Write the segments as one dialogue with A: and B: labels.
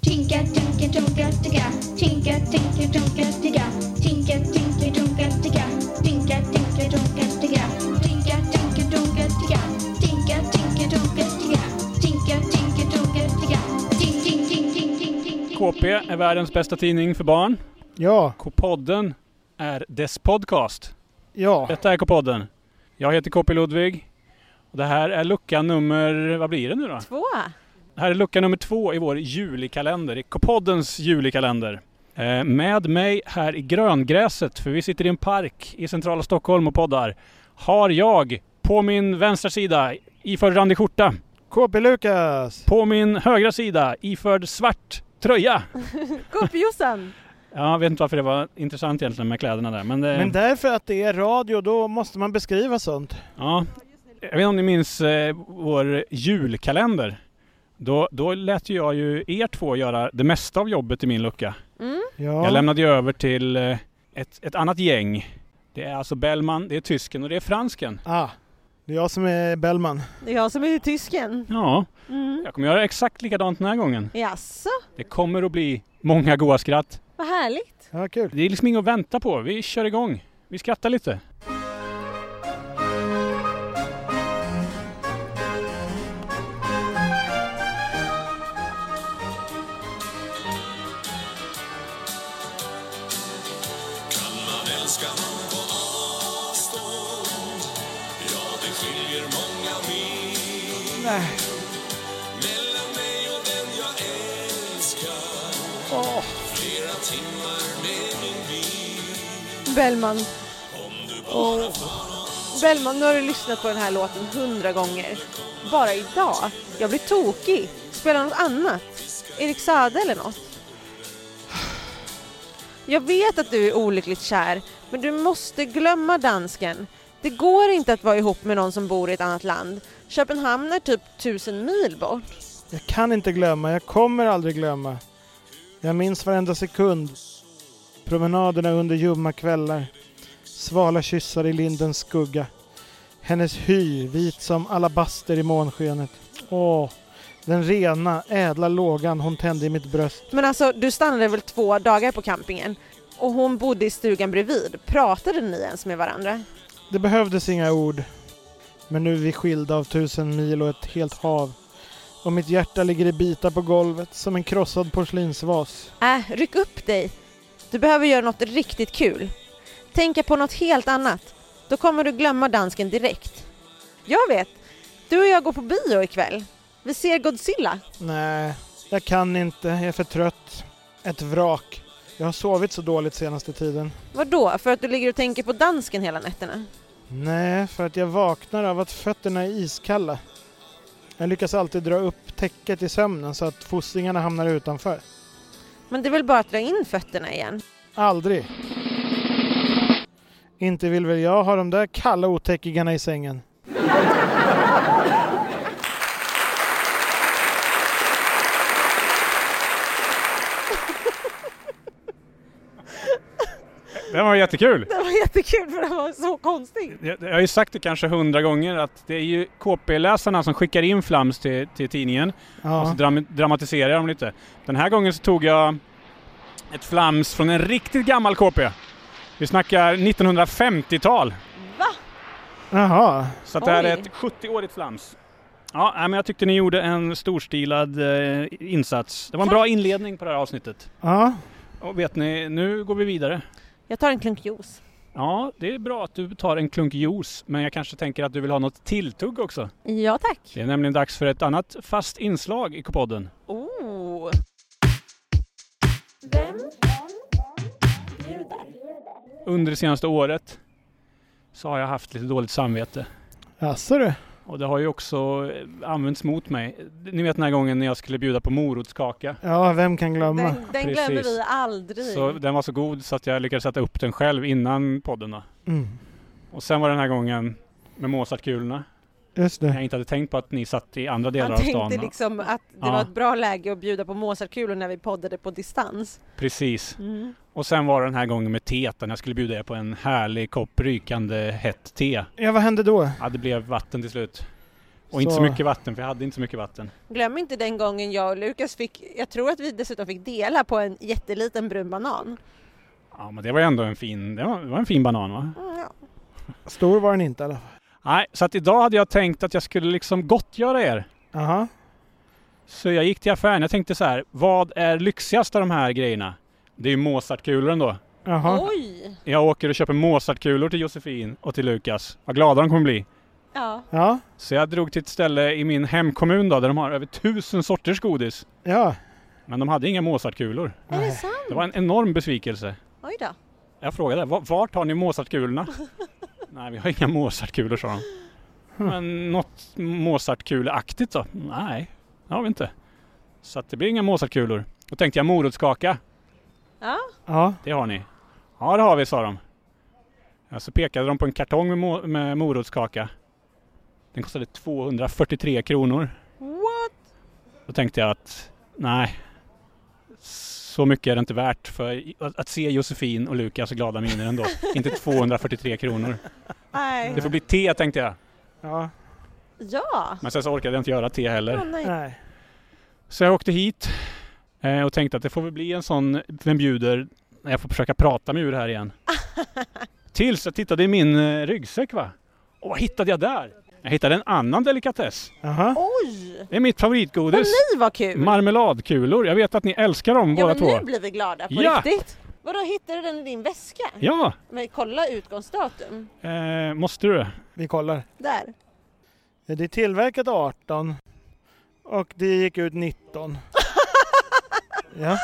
A: Tinka, tinka, tonka, ticka. Tinka, tinka, tonka, ticka. Tinka, tinka, tonka, ticka. Tinka, tinka, tonka, ticka. Tinka, tinka, tonka, ticka. Tinka, tinka, tonka, ticka. Tinka, tinka, tonka, ticka. Tink, tink, tink, tink, tink, tink, tink.
B: KP är världens bästa tidning för barn.
C: Ja,
B: K-podden är dess podcast.
C: ja.
B: Detta är K-podden. Jag heter KP Ludvig. Och det här är lucka nummer, vad blir det nu då?
D: Två.
B: Det här är lucka nummer två i vår julikalender, i K-poddens julikalender. Eh, med mig här i gröngräset, för vi sitter i en park i centrala Stockholm och poddar, har jag på min vänstra sida iförd randig skjorta,
C: KP Lukas!
B: på min högra sida iförd svart tröja.
D: Gubbjossan!
B: Ja, jag vet inte varför det var intressant egentligen med kläderna där, men, eh, det,
C: Men därför att det är radio, då måste man beskriva sånt.
B: Ja. Jag vet inte om ni minns eh, vår julkalender? Då, då lät ju jag ju er två göra det mesta av jobbet i min lucka.
D: Mm.
C: Ja.
B: Jag lämnade ju över till eh, ett, ett annat gäng. Det är alltså Bellman, det är tysken och det är fransken.
C: Ah, det är jag som är Bellman.
D: Det är jag som är tysken.
B: Ja,
D: Mm.
B: jag kommer göra exakt likadant den här gången.
D: Jaså,
B: Det kommer att bli många goa skratt.
D: vad härligt.
C: Ja, kul.
B: Det är liksom inget att vänta på. Vi kör igång. Vi skrattar lite.
E: Kan man älska någon på avstånd? Ja, det skiljer många mil
C: Nej.
E: mellan mig och den jag älskar.
B: Åh.
E: Flera timmar med min bil.
D: Bellman. Oh. Bellman, nu har du lyssnat på den här låten hundra gånger. Bara idag. Jag blir tokig. Spela något annat. Erik Saade eller något. Jag vet att du är olyckligt kär, men du måste glömma dansken. Det går inte att vara ihop med någon som bor i ett annat land. Köpenhamn är typ tusen mil bort.
C: Jag kan inte glömma, jag kommer aldrig glömma. Jag minns varenda sekund. Promenaderna under ljumma kvällar. Svala kyssar i lindens skugga. Hennes hy, vit som alabaster i månskenet. Åh, den rena, ädla lågan hon tände i mitt bröst.
D: Men alltså, du stannade väl två dagar på campingen? Och hon bodde i stugan bredvid. Pratade ni ens med varandra?
C: Det behövdes inga ord. Men nu är vi skilda av tusen mil och ett helt hav. Och mitt hjärta ligger i bitar på golvet som en krossad porslinsvas.
D: Äh, ryck upp dig. Du behöver göra något riktigt kul. Tänka på något helt annat. Då kommer du glömma dansken direkt. Jag vet. Du och jag går på bio ikväll. Vi ser Godzilla.
C: Nej, jag kan inte. Jag är för trött. Ett vrak. Jag har sovit så dåligt senaste tiden.
D: Vadå? För att du ligger och tänker på dansken hela nätterna?
C: Nej, för att jag vaknar av att fötterna är iskalla. Jag lyckas alltid dra upp täcket i sömnen så att fossingarna hamnar utanför.
D: Men det är väl bara att dra in fötterna igen?
C: Aldrig. Inte vill väl jag ha de där kalla otäckigarna i sängen.
B: Det var jättekul!
D: Det var jättekul för det var så konstigt.
B: Jag, jag har ju sagt det kanske hundra gånger att det är ju KP-läsarna som skickar in flams till, till tidningen. Och så
C: Ja.
B: dram- dramatiserar jag dem lite. Den här gången så tog jag ett flams från en riktigt gammal KP. Vi snackar 1950-tal.
D: Va?
C: Jaha.
B: Så att det här
D: Oj.
B: är ett 70-årigt flams. Ja, nej, men jag tyckte ni gjorde en storstilad eh, insats. Det var en bra inledning på det här avsnittet.
C: Ja.
B: Och vet ni, nu går vi vidare.
D: Jag tar en klunk juice.
B: Ja, det är bra att du tar en klunk juice, men jag kanske tänker att du vill ha något tilltugg också.
D: Ja tack.
B: Det är nämligen dags för ett annat fast inslag i K-podden.
D: Oh.
B: Under det senaste året så har jag haft lite dåligt samvete.
C: Jaså du?
B: Och det har ju också eh, använts mot mig. Ni vet den här gången när jag skulle bjuda på morotskaka.
C: Ja, vem kan glömma?
D: Den, den
B: Precis.
D: glömmer vi aldrig.
B: Så den var så god så att jag lyckades sätta upp den själv innan podden. Då.
C: Mm.
B: Och sen var det den här gången med Mozartkulorna.
C: Just det.
B: Jag inte hade tänkt på att ni satt i andra delar
D: Han
B: av stan.
D: Mm. tänkte liksom att det
B: Ja.
D: var ett bra läge att bjuda på Mozartkulor när vi poddade på distans.
B: Precis.
D: Mm.
B: Och sen var det den här gången med teet. när Jag skulle bjuda er på en härlig kopp rykande hett te.
C: Ja, vad hände då?
B: Ja, det blev vatten till slut. Och inte
C: Så-
B: så mycket vatten, för jag hade inte så mycket vatten.
D: Glöm inte den gången jag och Lukas fick, jag tror att vi dessutom fick dela på en jätteliten brun banan.
B: Ja, men det var ju ändå en fin, det var, det var en fin banan va?
D: Mm, ja.
C: Stor var den inte i alla fall.
B: Nej, så att idag hade jag tänkt att jag skulle liksom gottgöra er.
C: Aha.
B: Så jag gick till affären, jag tänkte så här, vad är lyxigast av de här grejerna? Det är ju Mozartkulor ändå.
D: Oh.
C: Jaha.
D: Oj!
B: Jag åker och köper Mozartkulor till Josefin och till Lukas. Vad glada de kommer bli.
D: Ja.
C: Ja.
B: Så jag drog till ett ställe i min hemkommun då, där de har över tusen sorters godis.
C: Ja.
B: Men de hade inga Mozartkulor.
D: Är det
C: Nej.
D: sant?
B: Det var en enorm besvikelse.
D: Oj då.
B: Jag frågade, "Va- vart har ni Mozartkulorna? Nej, vi har inga Mozartkulor sa de. Men något Mozartkuleaktigt då? Nej, det har vi inte. Så att det blir inga Mozartkulor. Då tänkte jag morotskaka,
D: Ja.
C: Ja.
B: det har ni. Ja, det har vi sa de. Ja, så pekade de på en kartong med, mo- med morotskaka. Den kostade 243 kronor.
D: What?
B: Då tänkte jag att nej, så mycket är det inte värt för att, att se Josefin och Lukas glada miner ändå. inte 243 kronor. Det
D: Nej.
B: får bli te tänkte jag.
C: Ja.
D: Ja.
B: Men sen så orkade jag inte göra te
D: Åh,
B: heller.
D: nej.
C: Nej.
B: Så jag åkte hit eh, och tänkte att det får väl bli en sån Vem bjuder? när Jag får försöka prata mig ur det här igen. Tills jag tittade i min eh, ryggsäck va. Och vad hittade jag där? Jag hittade en annan delikatess.
C: Aha.
D: Oj!
B: Det är mitt
D: Åh
B: favoritgodis.
D: nej vad kul!
B: Marmeladkulor. Jag vet att ni älskar dem
D: Ja
B: båda
D: men
B: två.
D: nu blir vi glada på
B: Ja.
D: riktigt. Vadå hittade du den i din väska?
B: Ja,
D: Men kolla utgångsdatum.
B: eh, måste du?
C: Vi kollar.
D: Där.
C: Det är tillverkat 18 och det gick ut 19. Ja,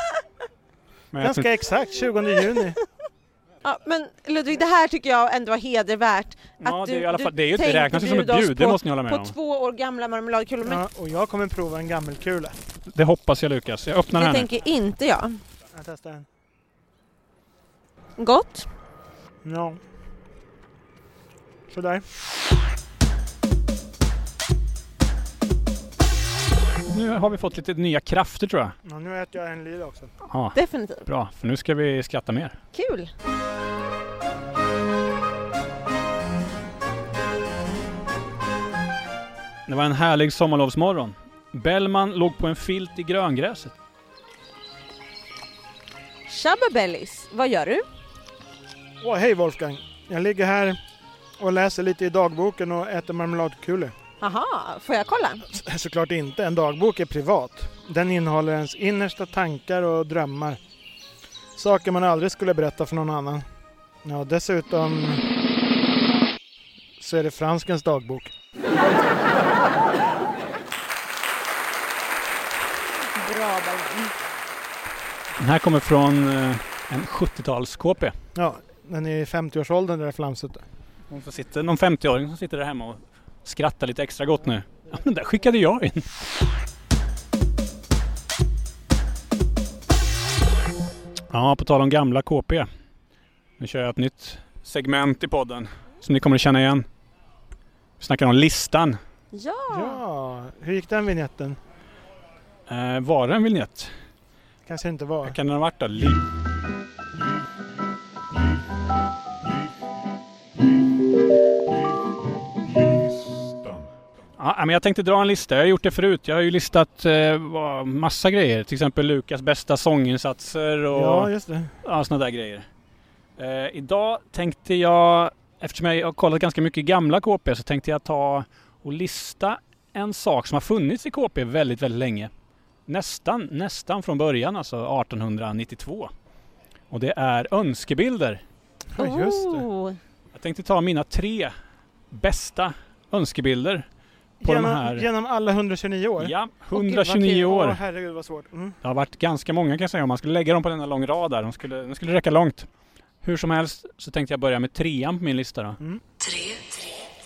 B: Men jag
C: ganska exakt 20 juni.
D: Ja, men Ludvig, det här tycker jag ändå var hedervärt.
B: Ja,
D: att
B: det är
D: du-
B: i alla
D: du
B: fall- det är ju inte-
D: tänkte
B: räknas ju som ett
D: bjuda oss
B: bjud, det
D: på-
B: måste ni hålla med
D: På
B: om.
D: två år gamla marmeladkulor. Men
C: Ja, och jag kommer prova en gammelkula.
B: Det hoppas jag Lukas. Jag öppnar
D: det
B: här nu.
D: tänker inte jag.
C: Jag testar en.
D: Gott.
C: Ja. Sådär.
B: Nu har vi fått lite nya krafter tror jag.
C: Ja, nu äter jag en lila också.
B: Ja,
D: Definitivt.
B: bra. För nu ska vi skratta mer.
D: Kul.
B: Det var en härlig sommarlovsmorgon. Bellman låg på en filt i gröngräset.
D: Shabba Bellis, vad gör du?
C: Åh, hej Wolfgang. Jag ligger här och läser lite i dagboken och äter marmeladkulor.
D: Aha, får jag kolla?
C: Så- Såklart inte. En dagbok är privat. Den innehåller ens innersta tankar och drömmar. Saker man aldrig skulle berätta för någon annan. Ja, dessutom så är det franskens dagbok.
D: Bra Bellman.
B: Den här kommer från eh, en 70-tals-KP.
C: Ja, den är i 50-årsåldern det där flamset.
B: Hon som sitter- Någon 50-åring som sitter där hemma och skrattar lite extra gott nu. Ja, men där skickade jag in. Ja, på tal om gamla KP. Nu kör jag ett nytt segment i podden som ni kommer att känna igen. Vi snackar om listan.
D: Ja.
C: Ja, hur gick den vignetten?
B: Eh, var det en vignett?
C: Kanske inte
B: Vad
C: var.
B: kan den ha varit då? Li- Ja, men jag tänkte dra en lista. Jag har gjort det förut. Jag har ju listat eh, vad- massa grejer. Till exempel Lukas bästa sånginsatser och ja,
C: Ja, just det.
B: sådana där grejer. Eh, idag tänkte jag, eftersom jag har kollat ganska mycket gamla KP, så tänkte jag ta och lista en sak som har funnits i KP väldigt, väldigt länge. Nästan, nästan från början, alltså 1892. Och det är önskebilder.
C: Ja, just det.
D: Oh.
B: Jag tänkte ta mina tre bästa önskebilder. På de
C: Genom,
B: här-
C: genom alla 129 år?
B: Ja,
D: vad kul.
B: 129
C: Åh,
B: år.
C: herregud vad svårt. Mm.
B: Det har varit ganska många kan jag säga om man skulle lägga dem på denna lång rad där. De skulle, de skulle räcka långt. Hur som helst så tänkte jag börja med trean på min lista då.
C: Mm.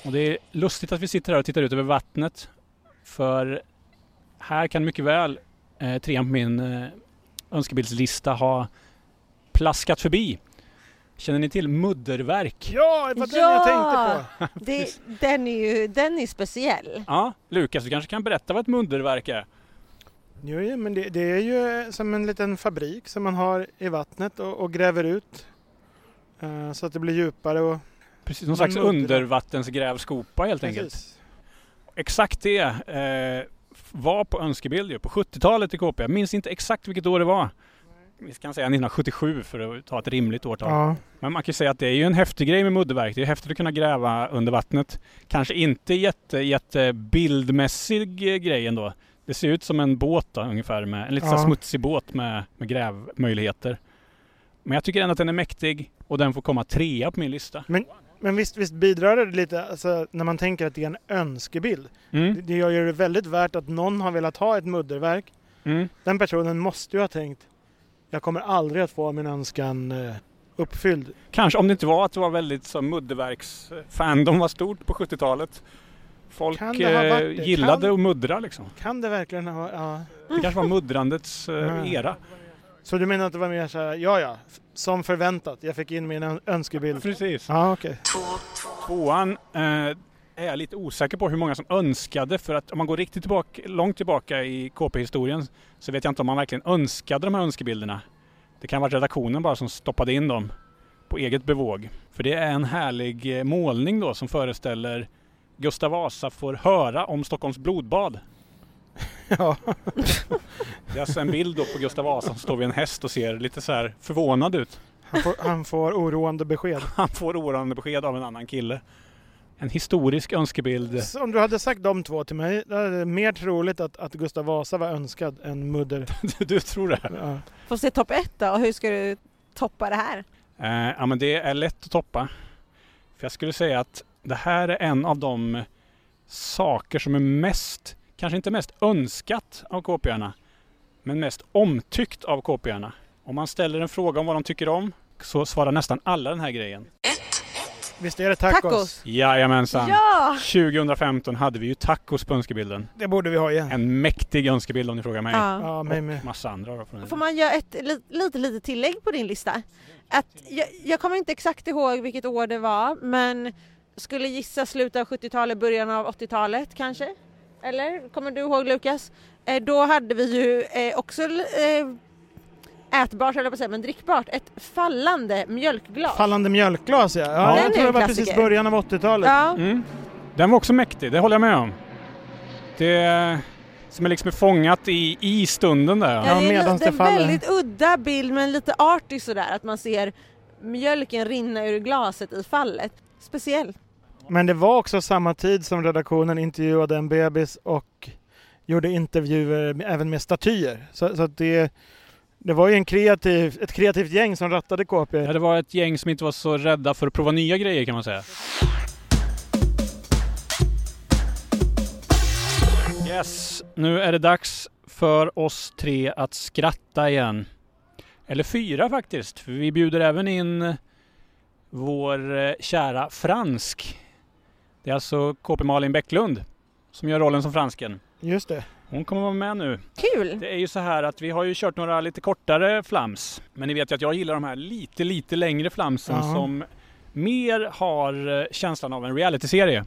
B: Och det är lustigt att vi sitter här och tittar ut över vattnet. För här kan mycket väl eh, trean på min eh, önskebildslista ha plaskat förbi. Känner ni till mudderverk?
C: Ja, det var den
D: Ja!
C: jag tänkte på.
D: Det, den är ju den är speciell.
B: Ja, Lukas du kanske kan berätta vad ett mudderverk är?
C: Jo, ja, men det, det är ju eh, som en liten fabrik som man har i vattnet och, och gräver ut. eh, så att det blir djupare och...
B: Precis, någon slags
C: Mudder-
B: undervattensgrävskopa helt enkelt.
C: Precis.
B: exakt det eh, var på önskebild ju, på 70-talet i KP. Jag minns inte exakt vilket år det var. Vi kan säga 1977 för att ta ett rimligt årtal.
C: Ja.
B: Men man kan ju säga att det är ju en häftig grej med mudderverk. Det är häftigt att kunna gräva under vattnet. Kanske inte jätte, jätte bildmässig eh, grej ändå. Det ser ut som en båt då, ungefär, med, en lite så här
C: Ja.
B: smutsig båt med, med grävmöjligheter. Men jag tycker ändå att den är mäktig och den får komma trea på min lista.
C: Men visst, visst bidrar det lite alltså, när man tänker att det är en önskebild. Det-
B: Mm.
C: Det gör ju det väldigt värt att någon har velat ha ett mudderverk.
B: Mm.
C: Den personen måste ju ha tänkt jag kommer aldrig att få min önskan eh, uppfylld.
B: Kanske om det inte var att det var väldigt så mudderverks... Fandom var stort på 70-talet. Folk
C: Kan det ha varit
B: eh,
C: det?
B: gillade
C: Kan-
B: att muddra liksom.
C: Kan det verkligen ha ja.
B: Det kanske var muddrandets
C: Mm.
B: eh, era.
C: Så du menar att det var mer så här, ja ja, f- som förväntat, jag fick in min ö- önskebild.
B: Precis.
C: Ja, okej.
B: Tvåan eh, är jag lite osäker på hur många som önskade för att om man går riktigt tillbaka, långt tillbaka i KP-historien så vet jag inte om man verkligen önskade de här önskebilderna. Det kan ha varit redaktionen bara som stoppade in dem på eget bevåg. För det är en härlig eh, målning då som föreställer Gustav Vasa får höra om Stockholms blodbad.
C: Ja.
B: Det är alltså en bild då på Gustav Vasa som står vid en häst och ser lite så här förvånad ut.
C: Han, får, han får oroande besked.
B: Han får oroande besked av en annan kille. En historisk önskebild.
C: Så Om du hade sagt de två till mig, då är det mer troligt att, att Gustav Vasa var önskad än mudder.
B: Du, du tror det?
C: Ja.
D: Får se topp ett då, hur ska du toppa det här?
B: Eh, ja, men det är lätt att toppa. För jag skulle säga att det här är en av de saker som är mest, kanske inte mest önskat av KParna, men mest omtyckt av KParna. Om man ställer en fråga om vad de tycker om så svarar nästan alla den här grejen.
C: Visst är det tacos?
D: Tacos!
B: Jajamensan!
D: Ja!
B: 2015 hade vi ju tacos på önskebilden.
C: Det borde vi ha igen.
B: En mäktig önskebild om ni frågar mig.
D: ja.
C: Ja, mig med.
B: Massa andra då.
C: Mm.
B: från-
D: Får man göra ett li- lite, lite tillägg på din lista? Att jag, jag kommer inte exakt ihåg vilket år det var, men skulle gissa slutet av 70-talet, början av 80-talet kanske? Eller? Kommer du ihåg Lukas? Eh, då hade vi ju eh, också eh, ätbart, höll jag på att säga, men drickbart, ett fallande mjölkglas.
C: Fallande mjölkglas ja. ja
D: Den
C: jag
D: är
C: tror det
D: en
C: var
D: klassiker.
C: precis början av 80-talet.
D: Ja,
B: Mm. Den var också mäktig, det håller jag med om. Det som är liksom fångat i, i stunden där. Ja.
C: Ja,
D: det är en,
C: medans
D: det är
C: det
D: en
C: faller.
D: väldigt udda bild men lite artig sådär att man ser mjölken rinna ur glaset i fallet. Speciell.
C: Men det var också samma tid som redaktionen intervjuade en bebis och gjorde intervjuer med- även med statyer. Så, så att det, det var ju en kreativ, ett kreativt gäng som rattade KP.
B: Ja, det var ett gäng som inte var så rädda för att prova nya grejer kan man säga. Yes, nu är det dags för oss tre att skratta igen. Eller fyra faktiskt, för vi bjuder även in vår eh, kära Fransk. Det är alltså KP Malin Bäcklund som gör rollen som Fransken.
C: Just det.
B: Hon kommer vara med nu.
D: Kul!
B: Det är ju så här att vi har ju kört några lite kortare flams. Men ni vet ju att jag gillar de här lite, lite längre flamsen
C: Ja.
B: som mer har eh, känslan av en realityserie.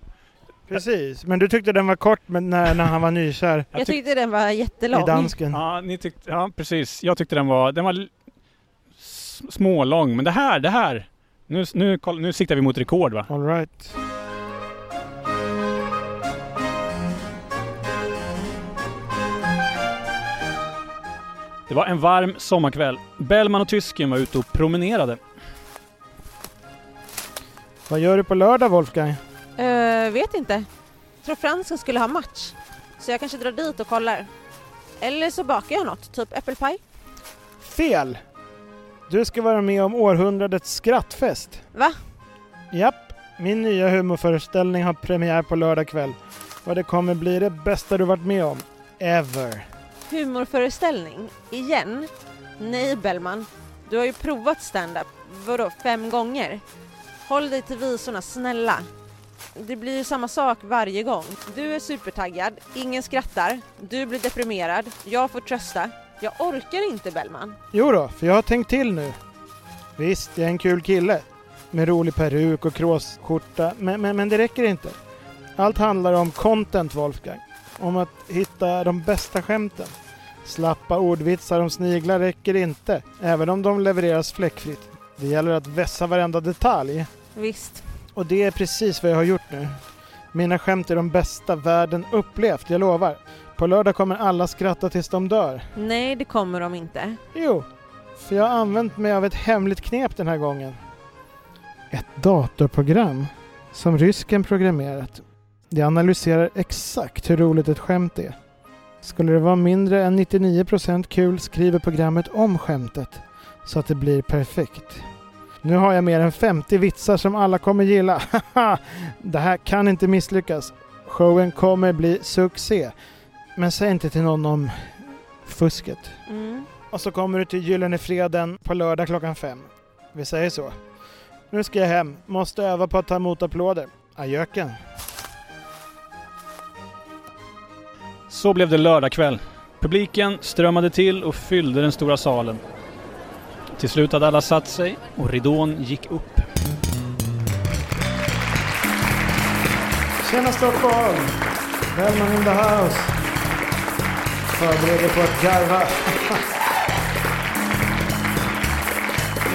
C: Precis. Men du tyckte den var kort men när, när han var nykär
D: Jag
B: tyck-
D: tyckte den var jättelång.
C: i dansken.
B: Ja, ni tyckte, ja, precis. Jag tyckte den var, den var l- s- smålång. Men det här, det här. Nu, nu, koll- nu siktar vi mot rekord va?
C: All right.
B: Det var en varm sommarkväll. Bellman och tysken var ute och promenerade.
C: Vad gör du på lördag Wolfgang?
D: Eh, vet inte. Tror fransken skulle ha match. Så jag kanske drar dit och kollar. Eller så bakar jag något, typ äppelpaj.
C: Fel! Du ska vara med om århundradets skrattfest.
D: Va?
C: Japp, min nya humorföreställning har premiär på lördag kväll. Och det kommer bli det bästa du varit med om. Ever.
D: Humorföreställning. Igen? Nej Bellman. Du har ju provat stand-up. Vadå, fem gånger? Håll dig till visorna, snälla. Det blir ju samma sak varje gång. Du är supertaggad, ingen skrattar, du blir deprimerad, jag får trösta. Jag orkar inte Bellman.
C: Jo då, för jag har tänkt till nu. Visst, jag är en kul kille. Med rolig peruk och kråsskjorta. Men, men, men det räcker inte. Allt handlar om content, Wolfgang. Om att hitta de bästa skämten. Slappa ordvitsar om sniglar räcker inte, även om de levereras fläckfritt. Det gäller att vässa varenda detalj.
D: Visst.
C: Och det är precis vad jag har gjort nu. Mina skämt är de bästa världen upplevt, jag lovar. På lördag kommer alla skratta tills de dör.
D: Nej, det kommer de inte.
C: Jo, för jag har använt mig av ett hemligt knep den här gången. Ett datorprogram som rysken programmerat. Det analyserar exakt hur roligt ett skämt är. Skulle det vara mindre än 99% kul skriver programmet om skämtet så att det blir perfekt. Nu har jag mer än 50 vitsar som alla kommer gilla. Haha, det här kan inte misslyckas. Showen kommer bli succé. Men säg inte till någon om fusket.
D: Mm.
C: Och så kommer du till Gyllene Freden på lördag klockan fem. Vi säger så. Nu ska jag hem. Måste öva på att ta emot applåder. Ajöken.
B: Så blev det lördagkväll. Publiken strömmade till och fyllde den stora salen. Till slut hade alla satt sig och ridån gick upp.
C: Tjena Stockholm! Bellman in the house. Förbered dig på att garva.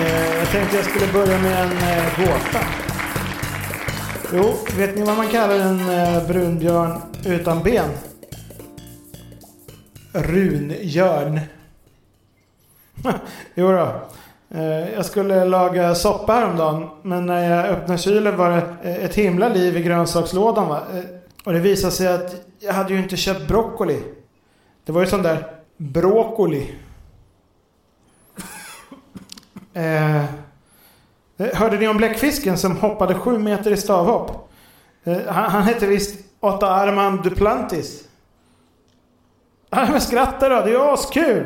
C: Eh, jag tänkte jag skulle börja med en eh, gåta. Jo, vet ni vad man kallar en eh, brunbjörn utan ben? Runbjörn. jo då. Eh, Jag skulle laga soppa häromdagen men när jag öppnade kylen var det eh, ett himla liv i grönsakslådan. Va? Eh, Och det visade sig att jag hade ju inte köpt broccoli. Det var ju sån där broccoli. Eh, eh, hörde ni om bläckfisken som hoppade sju meter i stavhopp? Eh, han, han hette visst Otta Armand Duplantis. Ah, men skratta då, det är ju askul!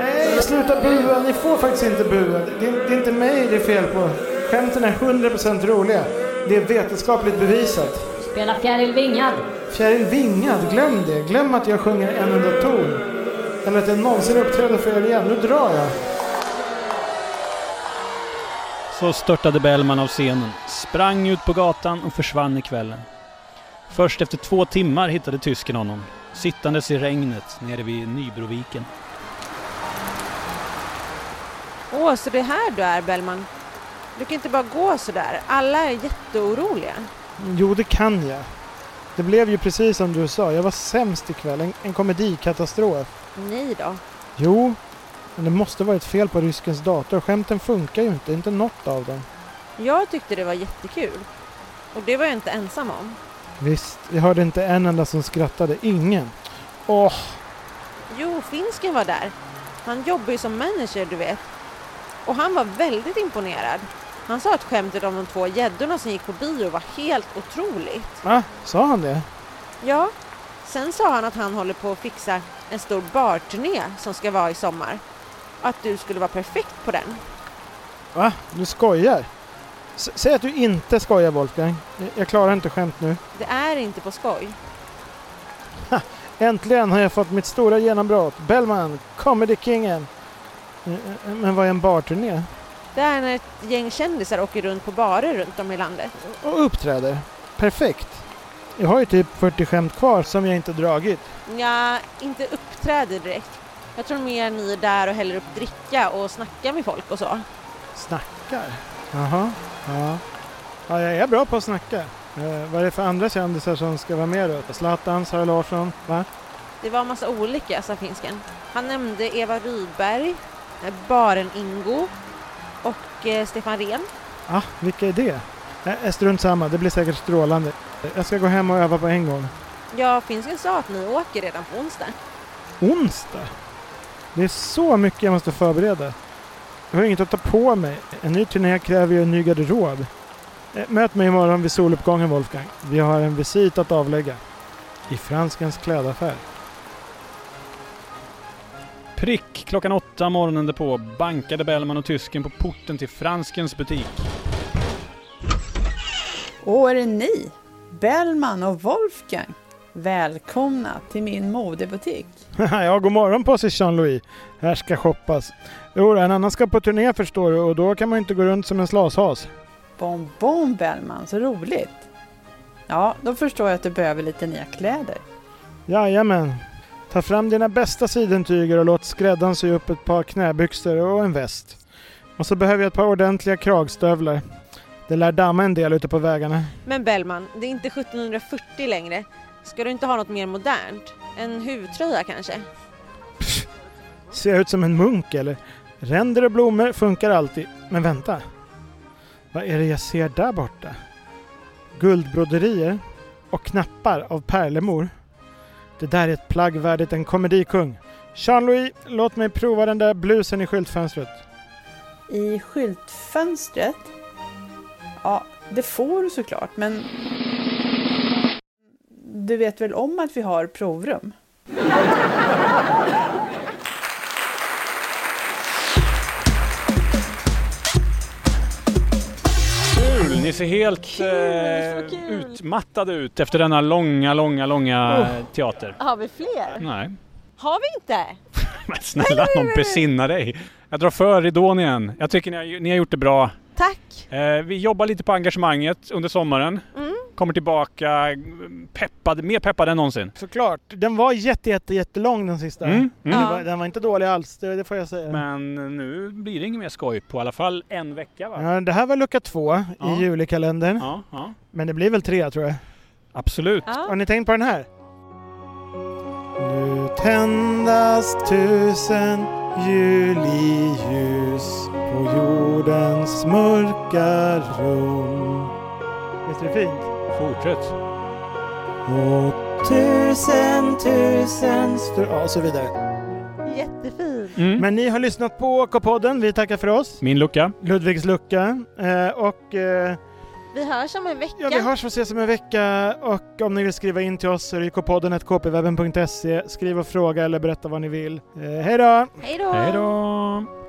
C: Nej, sluta bua. Ni får faktiskt inte bua. Det, är- det är inte mig det är fel på. Skämten är 100% roliga. Det är vetenskapligt bevisat.
F: Spela fjärilvingad.
C: Fjäril Vingad, glöm det. Glöm att jag sjunger en enda ton. Eller att jag någonsin uppträder för er igen. Nu drar jag.
B: Så störtade Bellman av scenen, sprang ut på gatan och försvann i kvällen. Först efter två timmar hittade tysken honom, sittandes i regnet nere vid Nybroviken.
D: Åh, så det är här du är Bellman. Du kan inte bara gå sådär. Alla är jätteoroliga.
C: Jo, det kan jag. Det blev ju precis som du sa. Jag var sämst ikväll. En, en komedikatastrof.
D: Nej då.
C: Jo, men det måste varit fel på ryskens dator. Skämten funkar ju inte. Inte något av dem.
D: Jag tyckte det var jättekul. Och det var jag inte ensam om.
C: Visst, jag hörde inte en enda som skrattade. Ingen. Åh,
D: Jo, finsken var där. Han jobbar ju som manager, du vet. Och han var väldigt imponerad. Han sa att skämtet om de två gäddorna som gick på bio var helt otroligt.
C: Va? Sa han det?
D: Ja, sen sa han att han håller på att fixa en stor barturné som ska vara i sommar. Att du skulle vara perfekt på den.
C: Va? Du skojar? S säg att du inte skojar Wolfgang. Jag, jag klarar inte skämt nu.
D: Det är inte på skoj.
C: Äntligen har jag fått mitt stora genombrott. Bellman, Comedy Kingen. Eh, eh, Men vad är en barturné?
D: Det är när ett gäng kändisar åker runt på barer runt om i landet.
C: Och uppträder. Perfekt. Jag har ju typ 40 skämt kvar som jag inte dragit.
D: Ja, inte uppträder direkt. Jag tror mer ni är där och häller upp dricka och snackar med folk och så.
C: Snackar? Jaha. Ja. ja, jag är bra på att snacka. Eh, vad är det för andra kändisar som ska vara med då? Zlatan, Sara Larsson, va?
D: Det var en massa olika, sa finsken. Han nämnde Eva Rydberg, eh, Baren Ingo och eh, Stefan Rehn.
C: Ah, vilka är det? Eh, strunt samma, det blir säkert strålande. Jag ska gå hem och öva på en gång.
D: Ja, finsken sa att ni åker redan på onsdag.
C: Onsdag? Det är så mycket jag måste förbereda. Jag har inget att ta på mig. En ny turné kräver ju en ny garderob. Eh, Möt mig imorgon vid soluppgången, Wolfgang. Vi har en visit att avlägga. I Franskens klädaffär.
B: Prick klockan åtta morgonen därpå bankade Bellman och tysken på porten till Franskens butik.
G: Och är ni, Bellman och Wolfgang, välkomna till min modebutik.
C: ja, god morgon på sig Jean-Louis. Här ska shoppas. Jo, en annan ska på turné förstår du och då kan man ju inte gå runt som en slashas.
G: Bonbon Bellman, så roligt! Ja, då förstår jag att du behöver lite nya kläder.
C: Jajamän. Ta fram dina bästa sidentyger och låt skräddaren sy upp ett par knäbyxor och en väst. Och så behöver jag ett par ordentliga kragstövlar. Det lär damma en del ute på vägarna.
D: Men Bellman, det är inte 1740 längre. Ska du inte ha något mer modernt? En huvtröja kanske?
C: Ser jag ut som en munk eller? Ränder och blommor funkar alltid. Men vänta. Vad är det jag ser där borta? Guldbroderier och knappar av pärlemor. Det där är ett plagg värdigt en komedikung. Jean-Louis, låt mig prova den där blusen i skyltfönstret.
G: I skyltfönstret? Ja, det får du såklart, men... Du vet väl om att vi har provrum?
B: Kul! Ni ser helt eh,
D: så kul.
B: utmattade ut efter denna långa, långa, långa eh, teater.
D: Har vi fler?
B: Nej,
D: Har vi inte?
B: men snälla någon besinna dig. Jag drar för ridån igen. Jag tycker ni har, ni har gjort det bra.
D: Tack!
B: Eh, vi jobbar lite på engagemanget under sommaren.
D: Mm.
B: Kommer tillbaka mm, peppad, mer peppad än någonsin.
C: Såklart. Den var jätte, jätte, jättelång den sista.
B: Mm, mm.
C: Den,
D: Ja.
C: var, den var inte dålig alls, det, det får jag säga.
B: Men nu blir det inget mer skoj på i alla fall en vecka va?
C: Ja, det här var lucka två
B: Ja.
C: i julekalendern.
B: Ja, ja.
C: Men det blir väl tre tror jag.
B: Absolut.
C: Har ni tänkt på den här? Nu tändas tusen juliljus på jordens mörka rum. Visst är det fint?
B: Fortsätt.
C: Och tusen tusen str- ja, och så vidare.
D: Jättefin!
B: Mm.
C: Men ni har lyssnat på K-podden. Vi tackar för oss.
B: Min lucka.
C: Ludvigs lucka. Eh, och eh,
D: Vi hörs om en vecka.
C: ja, vi hörs och ses om en vecka. Och om ni vill skriva in till oss så är det kpodden kpwebben.se. Skriv och fråga eller berätta vad ni vill. Eh, hej då!
D: Hej då!
B: Hej då!